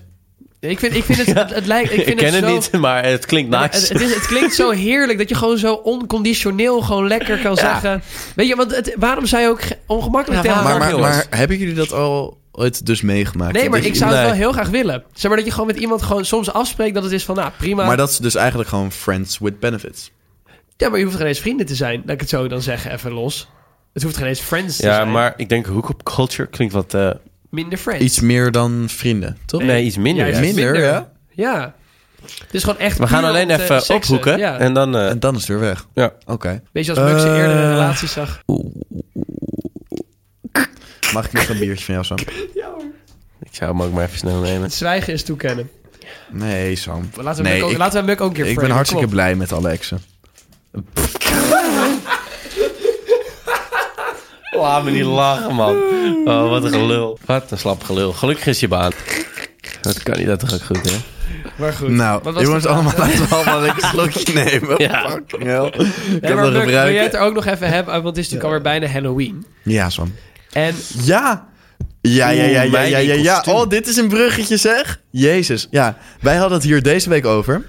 C: Ik vind, ik vind het, het, het lijkt, ik
A: Ik,
C: vind
A: ken
C: het,
A: het,
C: zo,
A: niet, maar het klinkt
C: Ja, maar
A: nice.
C: Het, het, is, het klinkt zo heerlijk dat je gewoon zo onconditioneel gewoon lekker kan zeggen. Weet je, want het, waarom zou je ook ge- ongemakkelijk
A: Ja,
C: tegen
B: Maar,
C: elkaar
B: maar,
A: jongens.
B: maar hebben jullie dat al ooit dus meegemaakt?
C: Nee, maar
B: Dat
C: ik
B: je-
C: zou het
A: Nee.
C: wel heel graag willen. Zeg maar dat je gewoon met iemand gewoon soms afspreekt dat het is van, nou prima.
B: Maar dat is dus eigenlijk gewoon friends with benefits.
C: Ja, maar je hoeft geen eens vrienden te zijn. Laat ik het zo dan zeggen, even los. Het hoeft geen eens friends te
A: ja,
C: zijn.
A: maar ik denk hook-up culture klinkt wat eh,
C: minder friends.
B: Iets meer dan vrienden, toch?
A: Nee, iets minder.
C: Juist
A: ja.
B: Minder, ja.
C: Ja. Dus gewoon echt
A: We gaan
C: puur
A: alleen
C: om te
B: eh,
A: even
C: seksen.
A: ophoeken.
C: Ja.
A: En dan... eh,
B: En dan is het weer weg.
A: Ja.
B: Oké.
C: Weet je, als Muk ze
B: Eh.
C: eerder in relaties zag.
B: Mag ik nog een biertje van jou, Sam?
A: ik zou hem ook maar even snel nemen.
C: Het zwijgen is toekennen.
B: Nee, Sam.
C: Laten we,
B: nee,
C: Muk, ook,
B: ik,
C: laten we Muk ook een keer
B: ik ben
C: framen.
B: hartstikke
C: Kom op.
B: blij met alle exen.
A: Laat me niet lachen, man. Oh, wat een gelul. Wat een slap gelul. Gelukkig is je baan. Dat kan niet, dat toch ook goed, hè?
C: Maar goed. Wat
B: Nou,
C: was
B: jongens,
C: de vraag?
B: allemaal, laten we allemaal een slokje nemen.
A: Ja.
B: Fucking hell. Ik
C: Nee,
B: kan
C: maar
B: er
C: Muk, wil jij het
B: gebruiken.
C: er ook nog even hebben? Want het is natuurlijk alweer bijna Halloween.
B: Ja, Sam.
C: En
B: Ja. Ja, ja, ja,
A: Oeh,
B: ja,
A: mijn
B: ja, ja, ja.
A: kostuum.
B: Oh, dit is een bruggetje, zeg. Jezus. Ja, wij hadden het hier deze week over.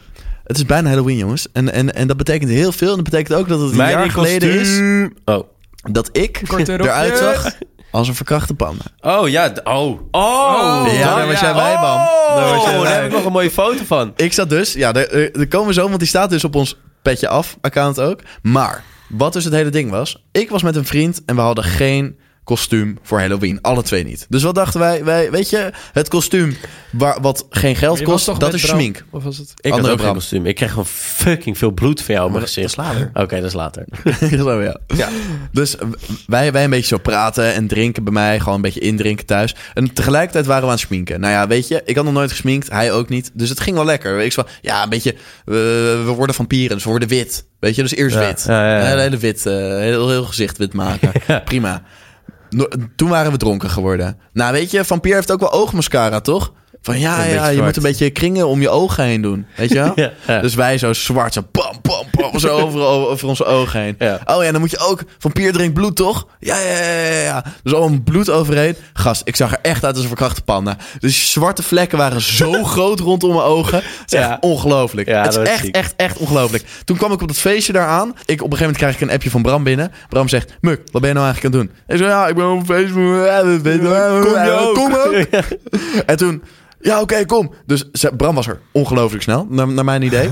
B: Het is bijna Halloween, jongens. En, en, en dat betekent heel veel. En dat betekent ook dat het een jaar geleden is
A: Oh.
B: dat ik
C: Korte rokjes.
B: eruit zag als een verkrachte panda.
A: Oh, ja. d- Oh. Oh.
C: Oh,
B: ja, daar
C: ja.
B: was jij bij, man. Daar
A: Oh,
B: was jij
A: daar
B: bij.
A: heb ik nog een mooie foto van.
B: Ik zat dus... Ja, daar, eh, daar komen we zo, want die staat dus op ons Petje Af-account ook. Maar, wat dus het hele ding was... Ik was met een vriend en we hadden geen kostuum voor Halloween. Alle twee niet. Dus wat dachten wij? wij weet je, het kostuum waar, wat geen geld
C: je was
B: kost,
C: toch
B: dat
C: met
B: is
C: Bram?
B: schmink.
C: Of was het?
A: Ik had
B: Andere
A: ook geen
B: Bram.
A: kostuum. Ik kreeg gewoon fucking veel bloed van jou op mijn gezicht.
B: Dat is later.
A: Oké, dat is later.
B: Zo, ja.
A: Ja.
B: Dus w- wij, wij een beetje zo praten en drinken bij mij. Gewoon een beetje indrinken thuis. En tegelijkertijd waren we aan het schminken. Nou ja, weet je, ik had nog nooit gesminkt. Hij ook niet. Dus het ging wel lekker. Ik zo, ja, een beetje, eh, we worden vampieren, dus we worden wit. Weet je, dus eerst
A: Ja,
B: wit.
A: ja, ja, ja.
B: Een hele wit, eh, heel, heel gezicht wit maken.
A: Ja.
B: Prima. No- toen waren we dronken geworden. Nou, weet je, vampier heeft ook wel oogmascara, toch? Van ja,
A: Een
B: ja
A: beetje
B: je moet
A: zwart.
B: een beetje kringen om je ogen heen doen. Weet je wel?
A: Ja, ja.
B: Dus wij zo zwart, zo pam, pam, pam, zo over, over, over onze ogen heen.
A: Ja.
B: Oh ja, dan moet je ook, vampier drinkt bloed, toch? Ja, ja, ja, ja, ja. Dus al een bloed overheen. Gast, ik zag er echt uit als een verkrachte panda. Dus die zwarte vlekken waren zo groot rondom mijn ogen. Het is
A: Ja.
B: echt ongelooflijk.
A: Ja,
B: het is
A: dat was
B: echt,
A: ziek.
B: echt, echt ongelooflijk. Toen kwam ik op dat feestje daar aan. Ik, op een gegeven moment krijg ik een appje van Bram binnen. Bram zegt, Muk, wat ben je nou eigenlijk aan het doen? Ik zeg, ja, ik ben op een feestje. Kom
A: je ook?
B: Kom ook. En toen, ja, oké, kom. Dus ze- Bram was er ongelooflijk snel, naar, naar mijn idee.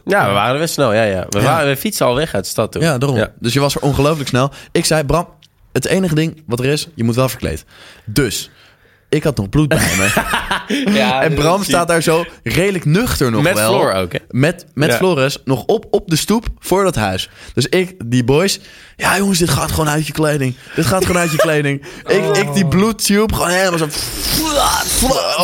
A: Ja, we waren er best snel. Ja, ja. We,
B: Ja.
A: Waren, we fietsen al weg uit de stad toen.
B: Ja, daarom. Dus je was er ongelooflijk snel. Ik zei, Bram, het enige ding wat er is, je moet wel verkleed. Dus, ik had nog bloed bij me. en Bram staat daar zo redelijk nuchter nog
A: Met
B: wel.
A: Floor ook, hè?
B: Met, met
A: Ja.
B: Flores nog op, op de stoep voor dat huis. Dus ik, die boys... Ja, jongens, dit gaat gewoon uit je kleding. Dit gaat gewoon uit je kleding. Ik, ik
A: Oh.
B: die bloedtube gewoon helemaal zo...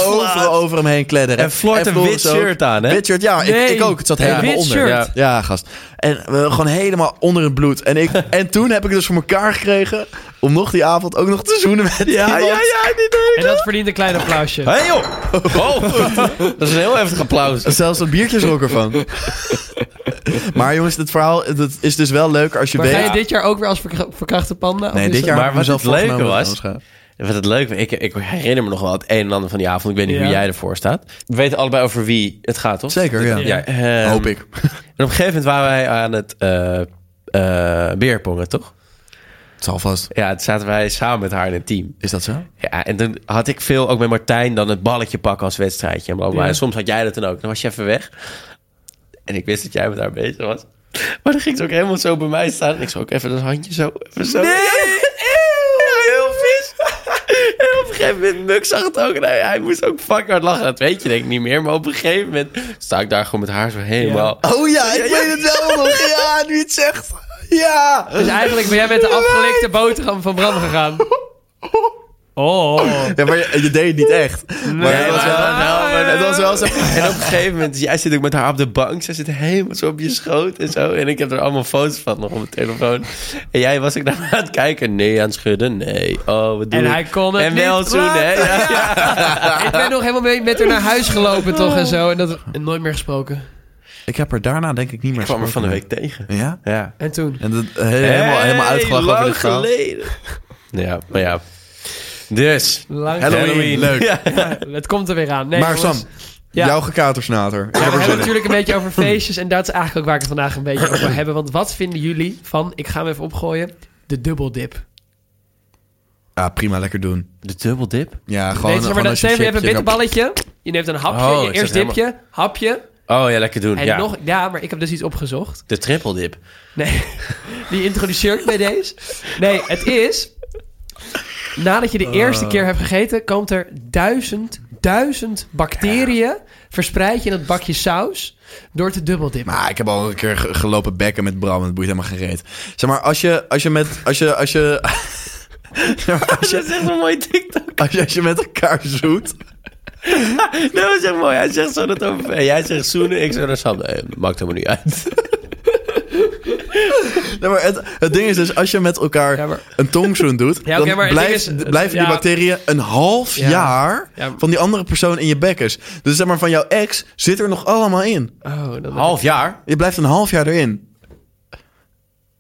B: Over, over hem heen kledderen.
A: En Floor had een
B: Floris
A: wit
B: ook.
A: shirt aan, hè?
B: Wit shirt, ja.
C: Nee.
B: Ik, ik ook. Het zat
C: Een
B: helemaal
C: wit
B: onder.
C: shirt.
A: Ja.
B: Ja, gast. En we gewoon helemaal onder het bloed. En, ik, en toen heb ik dus voor elkaar gekregen... om nog die avond ook nog te zoenen met iemand.
C: En dat verdient een klein applausje.
A: Hé hey, joh! Oh, dat is een heel heftig applaus.
B: Zelfs een biertje schrok ervan. maar jongens, dit verhaal dat is dus wel leuk als je
C: Maar
B: weet...
C: ga je dit jaar ook weer als verkra- verkrachte panda? Of
B: Nee,
C: is
B: dit
C: dat-
B: jaar
A: Maar
B: hebben we
A: wat
B: zelf
A: het
B: volgens mij
A: leuke
B: wel
A: was-
B: gedaan.
A: Wat het leuk ik, ik herinner me nog wel het een en ander van die avond. Ik weet niet
C: Ja.
A: hoe jij ervoor staat. We weten allebei over wie het gaat, toch?
B: Zeker, ja.
A: Ja, ehm,
B: Hoop ik.
A: En op een gegeven moment waren wij aan het eh eh, beerpongen, toch?
B: Het zal vast.
A: Ja, toen zaten wij samen met haar in het team.
B: Is dat zo?
A: Ja, en toen had ik veel ook met Martijn dan het balletje pakken als wedstrijdje. En, blablabla.
C: Ja.
A: en soms had jij dat dan ook. Dan was je even weg. En ik wist dat jij met haar bezig was. Maar dan ging ze ook helemaal zo bij mij staan. En ik zo ook even dat handje zo. Even zo. Nee! Heel vies. En op een gegeven moment, Muk zag het ook. En hij, hij moest ook fucking hard lachen. Dat weet je denk ik niet meer. Maar op een gegeven moment sta ik daar gewoon met haar zo helemaal...
B: Oh ja, ik weet het wel nog. Ja, nu je het zegt. Ja.
C: Dus eigenlijk ben jij met de afgelikte boterham van Bram gegaan. Oh.
B: Ja, maar je, je deed het niet echt. maar
A: Nee,
B: het was
A: maar
B: wel...
A: dat wel, maar dat
B: Het was wel zo...
A: En op een gegeven moment, jij zit ook met haar op de bank. Zij zit helemaal zo op je schoot en zo. En ik heb er allemaal foto's van nog op mijn telefoon. En jij was ik naar aan het kijken. Nee, aan het schudden. Nee. Oh, wat doe
C: En
A: ik?
C: hij kon het
A: En wel
C: niet
A: zoenen, hè? Ja.
C: Ik ben nog helemaal mee met haar naar huis gelopen toch en zo. En dat en nooit meer gesproken.
B: Ik heb er daarna denk ik niet meer
A: Ik kwam er van de
B: gesproken.
A: week tegen.
B: Ja?
A: Ja.
C: En toen.
B: En dat, he- helemaal, helemaal uitgelachen over dit
A: lang
B: verhaal.
A: geleden. Ja, maar ja. Dus.
C: Lang
B: Halloween, leuk.
A: Ja.
C: Eh, Het komt er weer aan. Nee,
B: maar
C: jongens.
B: Sam,
C: Ja.
B: jouw gekatersnater. Ik
C: Ja, we
B: heb er
C: hebben
B: zin in.
C: natuurlijk een beetje over feestjes. En dat is eigenlijk ook waar ik het vandaag een beetje over wil hebben. Want wat vinden jullie van, ik ga hem even opgooien, de dubbeldip?
B: Ja, prima, lekker doen.
A: De dubbeldip?
B: Ja, gewoon...
C: Weet je, maar
B: gewoon
C: dan
B: als je
C: stel je voor, je hebt
B: chips-
C: een bitterballetje. Je neemt een hapje,
A: Oh,
C: je
A: ik
C: eerst
A: zat
C: dipje, hapje.
A: Oh ja, lekker doen.
C: En
A: ja.
C: nog, ja, maar ik heb dus iets opgezocht.
A: De trippeldip.
C: Nee, die introduceer ik bij deze. Nee, het is nadat je de
B: Oh.
C: eerste keer hebt gegeten, komt er duizend, duizend bacteriën verspreid je in dat bakje saus door te dubbeldippen.
B: Maar ik heb al een keer ge- gelopen bekken met Bram en het boeit helemaal geen reet. Zeg maar, als je, als je met... Als je, als je, Zeg maar, als, je,
A: Dat is echt een mooie TikTok.
B: als, je, als je met elkaar zoet...
A: Dat was echt mooi. Hij zegt zo dat over... en Jij zegt zoenen, ik zeg naar Sam. Nee, dat Eh, maakt helemaal niet uit.
B: Nee, maar het, het ding is dus, als je met elkaar
C: Ja, maar-
B: een tongzoen doet...
C: Ja, oké,
B: dan
C: maar het
B: blijf,
C: ding is-
B: blijven
C: ja.
B: die bacteriën een half
C: Ja.
B: jaar
C: Ja.
B: van die andere persoon in je bekkers. Dus zeg maar, van jouw ex zit er nog allemaal in.
C: Oh, dat
A: Half jaar?
B: Je blijft een half jaar erin.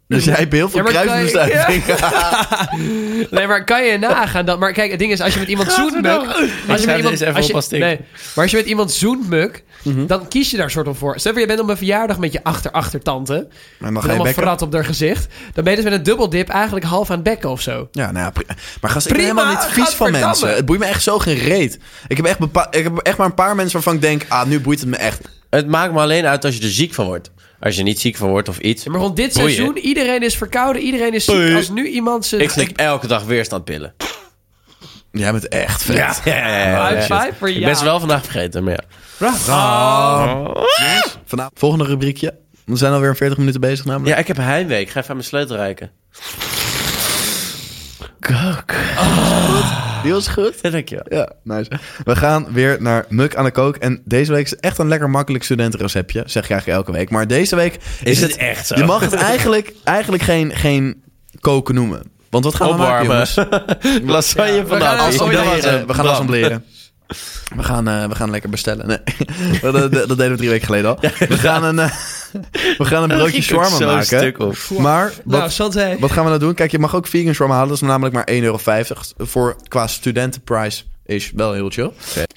B: Dus jij hebt heel veel
C: Ja, maar kan je-
B: kruisbestuiving.
C: Nee, maar kan je nagaan dat... Maar kijk, het ding is, als je met iemand zoent, Muk... Als je
A: ga
C: met iemand,
A: deze even
C: als je,
A: op als tik.
C: nee, maar als je met iemand zoent, Muk,
B: Mhm.
C: dan kies je daar soort van voor. Stel voor, je bent op een verjaardag met je achter-achtertante.
B: Maar dan
C: Met
B: ga je
C: allemaal
B: bekken.
C: frat op haar gezicht. Dan ben je dus met een dubbeldip eigenlijk half aan het bekken of zo.
B: Ja, nou ja, pri- maar gast, ik ben
C: Prima,
B: helemaal niet vies van
C: gadverdamme.
B: mensen. Het boeit me echt zo geen reet. Ik heb echt, bepa- ik heb echt maar een paar mensen waarvan ik denk, ah, nu boeit het me echt.
A: Het maakt me alleen uit als je er ziek van wordt. Als je niet ziek van wordt of iets.
C: Ja, maar rond dit
A: Boeien.
C: seizoen, iedereen is verkouden, iedereen is ziek.
A: Boeien.
C: Als nu iemand zijn...
A: Ik slik elke dag weerstandpillen.
B: Jij bent echt vet.
C: High
A: ja,
C: five voor
A: Ik
C: jou.
A: ben ze wel vandaag vergeten, maar ja.
C: Oh.
B: Vanavond, volgende rubriekje. We zijn alweer 40 minuten bezig namelijk.
A: Ja, ik heb heimwee. Ik ga even aan mijn sleutel reiken.
B: Die was goed.
A: Ja, dankjewel.
B: Ja, nice. We gaan weer naar Muk aan de Kook. En deze week is echt een lekker makkelijk studentenreceptje. Zeg ik eigenlijk elke week. Maar deze week is,
A: Is het echt zo?
B: Je mag het eigenlijk, eigenlijk geen, geen koken noemen. Want wat gaan we maken,
A: Opwarmen.
B: jongens?
A: Lasagne
C: Ja, we gaan
A: vanavond.
B: Oh, dat
C: Assembleren.
B: was het. We gaan
A: Bam.
B: assembleren. We gaan, eh, we gaan lekker bestellen. Nee, dat, dat- dat deden we drie weken geleden al. We gaan een, eh, we gaan een
A: Dat
B: broodje
A: ging ook
B: shawarma
A: zo'n
B: maken.
A: stuk op.
B: Maar
C: Nou,
B: wat,
C: Santé.
B: wat gaan we nou doen? Kijk, je mag ook vegan shawarma halen. Dat is namelijk maar 1,50 euro. Voor, qua studentenprijs is wel heel chill.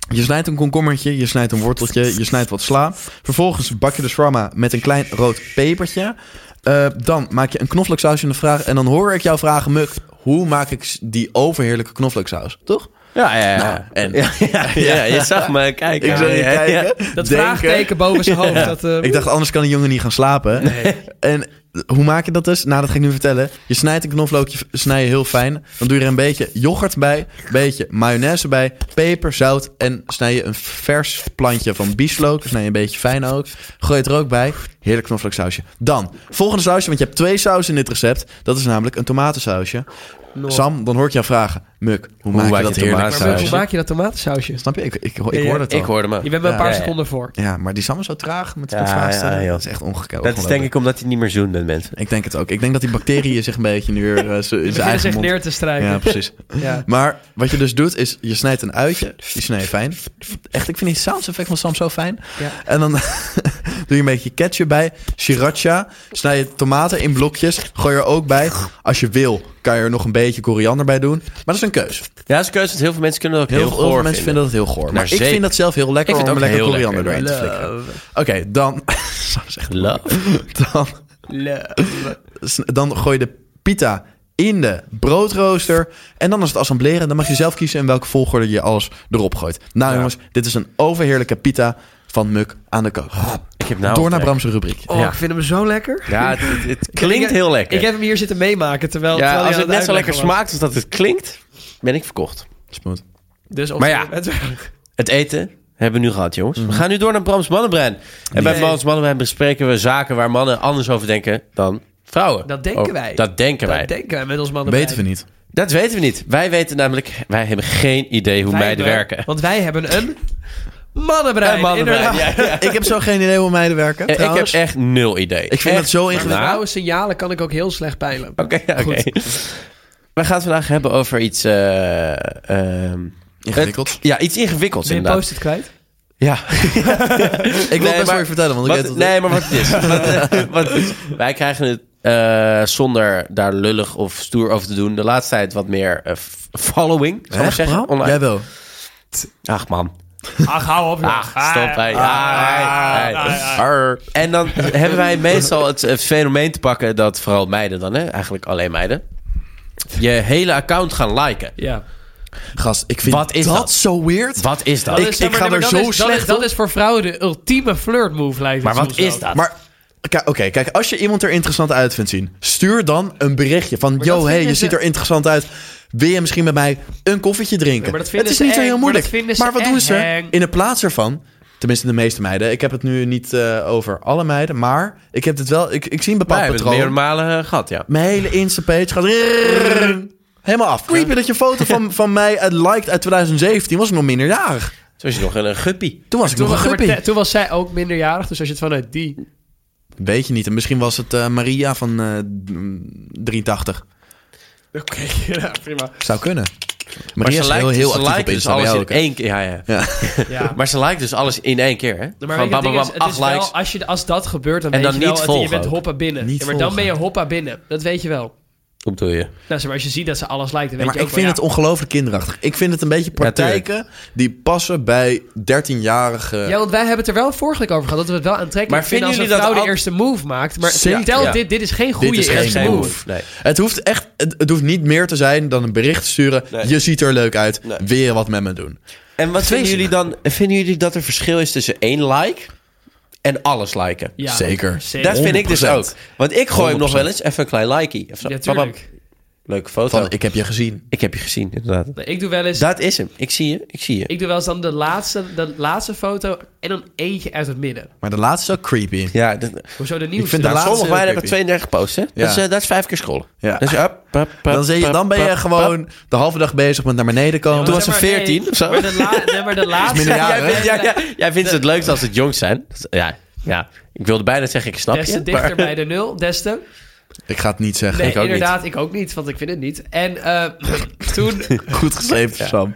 B: Je snijdt een komkommertje, je snijdt een worteltje, je snijdt wat sla. Vervolgens bak je de shawarma met een klein rood pepertje. Eh, dan maak je een knoflooksaus in de vraag. En dan hoor ik jou vragen, Muk, hoe maak ik s- die overheerlijke knoflooksaus? Toch?
A: Ja, ja, ja.
B: Nou, en-
A: Ja, ja, ja, je zag me kijken.
B: Ik zag je
A: Ja, ja.
B: kijken.
C: Dat
B: denken.
C: vraagteken boven zijn hoofd. Dat, eh,
B: Ik dacht, anders kan een jongen niet gaan slapen. En hoe maak je dat dus? Nou, dat ga ik nu vertellen. Je snijdt een knoflookje, snij je heel fijn. Dan doe je er een beetje yoghurt bij, een beetje mayonaise bij, peper, zout. En snij je een vers plantje van bieslook. Snij je een beetje fijn ook. Gooi het er ook bij. Heerlijk knoflooksausje. Dan, volgende sausje, want je hebt twee sausen in dit recept. Dat is namelijk een tomatensausje. Sam, dan hoor ik jou vragen. Muk, hoe, maak je
A: maak
B: dat
A: je
B: heerlijk
C: maar Muk, hoe
A: tomatensausje?
B: knoflooksausje?
C: maak je dat tomatensausje?
B: Snap je? Ik, ik, ik,
C: Ja, ja,
B: hoor het al.
A: Ik hoorde me.
C: Je bent me een paar
A: Ja.
C: seconden voor.
B: Ja, maar die Sam is zo traag met
A: Ja,
B: met vragen
A: ja,
B: stellen.
A: joh.
B: dat is echt ongekend.
A: Dat is denk ik omdat hij niet meer zoent met mensen.
B: Ik denk het ook. Ik denk dat die bacteriën zich een beetje nu weer eh, zo- in
C: Je
B: zijn
C: begint
B: eigen
C: zich
B: mond...
C: neer te strijken.
B: Ja, precies.
C: Ja.
B: Maar wat je dus doet, is je snijdt een uitje. Die snij je fijn. Echt, ik vind die sounds-effect van Sam zo fijn.
C: Ja.
B: En dan doe je een beetje ketchup bij. Sriracha. Snij je tomaten in blokjes. Gooi er ook bij. Als je wil, kan je er nog een beetje koriander bij doen. Maar dat is een keus.
A: Ja, dat is een keuze. want Heel veel mensen kunnen dat ook
B: Heel,
A: heel,
B: veel
A: goor
B: mensen vinden dat heel goor. Maar, ik
A: zeker.
B: vind dat zelf heel lekker
A: Ik
B: om
A: vind
B: er
A: het ook
B: lekker
A: heel
B: koriander
A: lekker.
B: doorheen te flikkeren. Oké, dan... Sam is echt-
A: Love.
B: dan S- dan gooi je de pita in de broodrooster. En dan is het assembleren. Dan mag je zelf kiezen in welke volgorde je alles erop gooit. Nou jongens, dit is een overheerlijke pita van Muk aan de kook.
A: Ik heb nou
B: Door naar
A: ontdekt.
B: Bram's rubriek.
C: Oh,
A: Ja.
C: ik vind hem zo lekker.
A: Ja, het, het- het klinkt heel lekker.
C: Ik heb hem hier zitten meemaken, terwijl...
A: ja,
C: terwijl hij
A: als
C: aan
A: het net zo lekker
C: uitleggen was.
A: smaakt als dat het klinkt, ben ik verkocht.
B: Smooth.
C: Dus op
A: Maar ja.
C: het werk.
A: Het eten hebben we nu gehad, jongens. We gaan nu door naar Brams Mannenbrein. En bij
C: Mhm. Nee.
A: Brams Mannenbrein bespreken we zaken waar mannen anders over denken dan vrouwen.
C: Dat denken
A: Over-
C: wij.
A: Dat denken wij.
C: Dat denken wij met ons mannen.
B: Weten we niet.
A: dat weten we niet. Wij weten namelijk, wij hebben geen idee hoe meiden werken.
C: Want wij hebben een mannenbrein.
A: Een mannenbrein,
C: inderdaad.
A: ja, ja.
B: Ik heb zo geen idee hoe meiden
A: En
B: werken.
A: Eh, ik heb
B: trouwens.
A: echt nul idee.
B: Ik vind
A: Echt
B: dat zo
C: Maar
B: ingewikkeld.
C: blauwe signalen kan ik ook heel slecht peilen.
A: Oké, oké. We gaan het vandaag hebben over iets... eh, ehm,
B: Ingewikkeld.
A: ja, iets ingewikkelds
C: Ben je
A: inderdaad.
C: post-it kwijt?
A: Ja.
B: Ik wil
A: Nee,
B: het best
A: maar-
B: wel je vertellen, want ik
A: Wat-
B: weet dat
A: nee, maar wat het is. Wat- eh, wat het is. Wij krijgen het eh, zonder daar lullig of stoer over te doen... de laatste tijd wat meer eh, f- following, zou ik
B: Echt,
A: zeggen.
B: Bram? Jij wel.
A: Ach man.
C: Ach, hou Ah, op. joh.
A: Ach, stop. hey.
C: Ah,
A: Ja, hey,
C: ah,
A: hey.
C: ah,
A: Arr. En dan hebben wij meestal het eh, fenomeen te pakken... dat vooral meiden dan, hè, eigenlijk alleen meiden... je hele account gaan liken.
C: Ja.
B: Gast, ik vind
A: Wat is
B: dat,
A: dat?
B: zo weird.
A: Wat is dat?
B: Ik- ik ga
C: maar
B: er
C: dat
B: zo
C: is- dat is-
B: slecht
C: Dat
B: op.
C: is voor vrouwen de ultieme flirt move, lijkt het
A: maar wat
C: soms
A: is
C: ook.
A: dat?
B: Maar Ki- Oké, kijk, als je iemand er interessant uit vindt zien, stuur dan een berichtje van:
C: dat
B: Yo, hey,
C: vinden
B: je
C: ze-
B: ziet er interessant uit. Wil je misschien met mij een koffietje drinken?
C: Ja, maar dat
B: het
C: vinden
B: is
C: ze
B: niet zo
C: eng,
B: heel
C: maar
B: moeilijk.
C: dat
B: Maar,
C: vinden ze
B: wat doen ze?
C: eng.
B: In de plaats ervan, tenminste de meeste meiden, ik heb het nu niet eh, over alle meiden, maar ik heb dit wel, ik, ik zie een
A: Wij
B: bepaald
A: hebben het
B: patroon.
A: meerdere malen eh, gehad, ja.
B: Mijn hele Insta-page gaat helemaal af. Creepy dat je een foto van, van mij uit liked uit 2017, was ik nog minderjarig.
A: Toen was je nog een, een guppie.
B: Toen was ik nog een
C: was,
B: guppie.
C: toen was zij ook minderjarig, dus als je het vanuit die...
B: Weet je niet, en misschien was het eh, Maria van eh, 83.
C: Oké, ja, prima.
B: Zou kunnen.
A: Maar
B: Maria
A: ze
B: is
A: lijkt
B: heel, heel
A: ze
B: actief
A: lijkt
B: op
A: dus
B: Insta. bij
A: alles
B: jou
A: in
B: ook, hè?
A: één keer. Ja, ja.
C: Ja.
A: Maar ze lijkt dus alles in één keer, hè? Gewoon
C: Maar weet je, het
A: bam, bam,
C: ding
A: bam,
C: is, het is
A: acht
C: wel,
A: likes.
C: Als je, als dat gebeurt, dan
A: En
C: weet
A: dan
C: je wel
A: niet
C: dat je
A: volgen
C: bent
A: ook.
C: hoppa binnen.
B: Niet
C: ja, maar dan
B: volgen.
C: ben je hoppa binnen. Dat weet je wel.
A: Hoe bedoel je?
C: Nou, zeg maar, als je ziet dat ze alles lijkt, dan
B: Nee,
C: weet
B: maar
C: je
B: ik
C: ook
B: vind
C: wel,
B: het ongelooflijk kinderachtig. Ik vind het een beetje
A: tuurlijk.
B: praktijken die passen bij 13-jarige...
C: ja. ja, want wij hebben het er wel vorige keer over gehad, dat we het wel aantrekkelijk
A: Maar
C: vinden als
A: vinden
C: een
A: jullie
C: vrouw de
A: dat al-
C: eerste move maakt. Maar
B: Zeker.
C: tel
A: Ja.
C: dit, dit is geen goede
B: is geen
C: eerste
B: geen
C: move.
B: move.
A: Nee.
B: Het, hoeft echt, het, het hoeft niet meer te zijn dan een bericht te sturen.
A: Nee.
B: Je ziet er leuk uit.
A: Nee.
B: Wil je wat met me
A: En
B: doen?
A: wat vinden
B: Vreselijk.
A: jullie dan? Vinden jullie dat er verschil is tussen één like en alles liken?
C: Ja,
B: Zeker.
A: Dat vind ik dus
B: 100%.
A: ook. Want ik gooi hem nog
B: 100%.
A: wel eens even een klein likey. Of zo.
C: Ja,
A: Bam, bam.
C: tuurlijk.
A: Leuke foto.
B: Van, ik heb je gezien.
A: Ik heb je gezien, inderdaad.
C: Nee, ik doe wel eens...
A: Dat is hem. Ik zie je. Ik zie je.
C: Ik doe wel eens dan de laatste, de laatste foto en dan eentje uit het midden.
B: Maar de laatste is ook creepy.
A: Ja, dat,
C: Hoezo de nieuwste?
B: vind
A: Nou,
B: de laatste
A: sommige
B: heel
A: meiden hebben
B: creepy.
A: 32 posts, hè?
B: Ja.
A: Dat, is, eh, dat is vijf keer scrollen.
B: Ja.
A: Dus, up, up, up,
B: Dan, zie je,
A: up,
B: dan ben
A: up,
B: je
A: up.
B: gewoon de halve dag bezig met naar beneden komen.
A: Toen was ze
C: Zeg maar, nee,
A: 14 of zo.
C: Maar de, la- nee, maar de laatste...
B: minder jaren,
A: Jij,
B: hè?
A: vindt, ja, ja, jij vindt het leukst als het jongs zijn. Dat is- Ja, ja, ik wilde bijna zeggen, ik snap
C: Des
A: je.
C: te dichter
A: maar-
C: bij de nul, des te...
B: Ik ga het niet zeggen.
C: Nee,
A: ik ook niet.
C: inderdaad, ik ook niet, want ik vind het niet. En eh, toen...
B: Goed gesleept, Sam.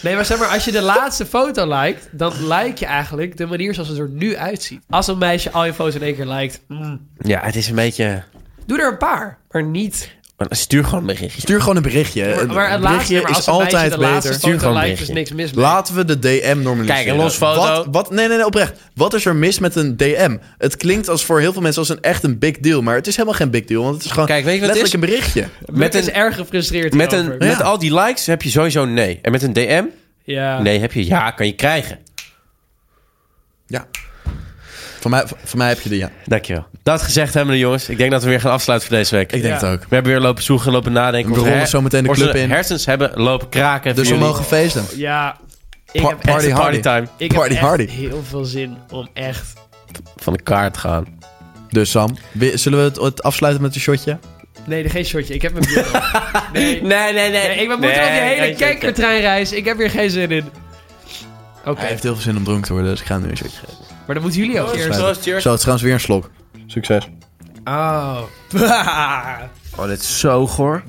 C: Nee, maar zeg maar, als je de laatste foto liked... dan like je eigenlijk de manier zoals het er nu uitziet. Als een meisje al je foto's in één keer liked... mm,
A: Ja, het is een beetje...
C: doe er een paar, maar niet...
A: maar Stuur gewoon een berichtje.
B: Stuur gewoon een berichtje.
C: Maar,
B: Een
C: maar het laatste,
B: berichtje
C: maar als
B: is
C: een meisje
B: altijd
C: de
B: beter.
C: laatste
A: Stuur
C: foto
A: gewoon een
C: liked, is
A: berichtje.
C: niks mis mee.
B: Laten we de DM normaliseren.
A: Kijk, een los foto.
B: Wat, wat, nee, nee, nee, oprecht. Wat is er mis met een DM? Het klinkt als voor heel veel mensen als een echt een big deal. Maar het is helemaal geen big deal. Want het is gewoon
A: Kijk, weet je wat het
B: letterlijk een berichtje.
A: Met
C: is
A: een,
C: erg gefrustreerd
A: met, een,
C: hierover.
A: met
B: Ja.
A: al die likes heb je sowieso nee. En met een DM,
C: Ja.
A: nee heb je ja, kan je krijgen.
B: Ja. Voor mij, voor mij heb je de ja.
A: Dankjewel. Dat gezegd hebben we, jongens. Ik denk dat we weer gaan afsluiten voor deze week.
B: Ik denk
C: Ja.
B: het ook.
A: We hebben weer lopen zoeken, lopen nadenken.
B: We
A: Onze
B: ronden
A: her-
B: zo meteen de
A: onze
B: club in.
A: hersens hebben lopen kraken.
B: Dus we
A: voor jullie.
B: mogen feesten.
C: Ja. Ik
B: Pa-
C: heb echt-
A: Echt
B: Party
A: party, party
B: hardy.
A: time.
C: Ik
B: Party
C: heb echt
B: hardy.
C: heel veel zin om echt...
A: Van de kaart gaan.
B: Dus Sam, we- zullen we het, het afsluiten met een shotje?
C: Nee, geen shotje. Ik heb mijn bier op. Nee. nee.
A: nee,
C: ik we moeten op die hele kijkertreinreis. Ik heb weer geen zin in. Oké,
B: Hij heeft heel veel zin om dronken te worden, dus ik ga nu een shotje geven.
C: maar dan moeten jullie ook eerst.
B: Sluiten.
A: Proost, cheers.
B: Zo, het is trouwens weer een slok. Succes.
C: Oh.
A: Oh, dit is zo goor.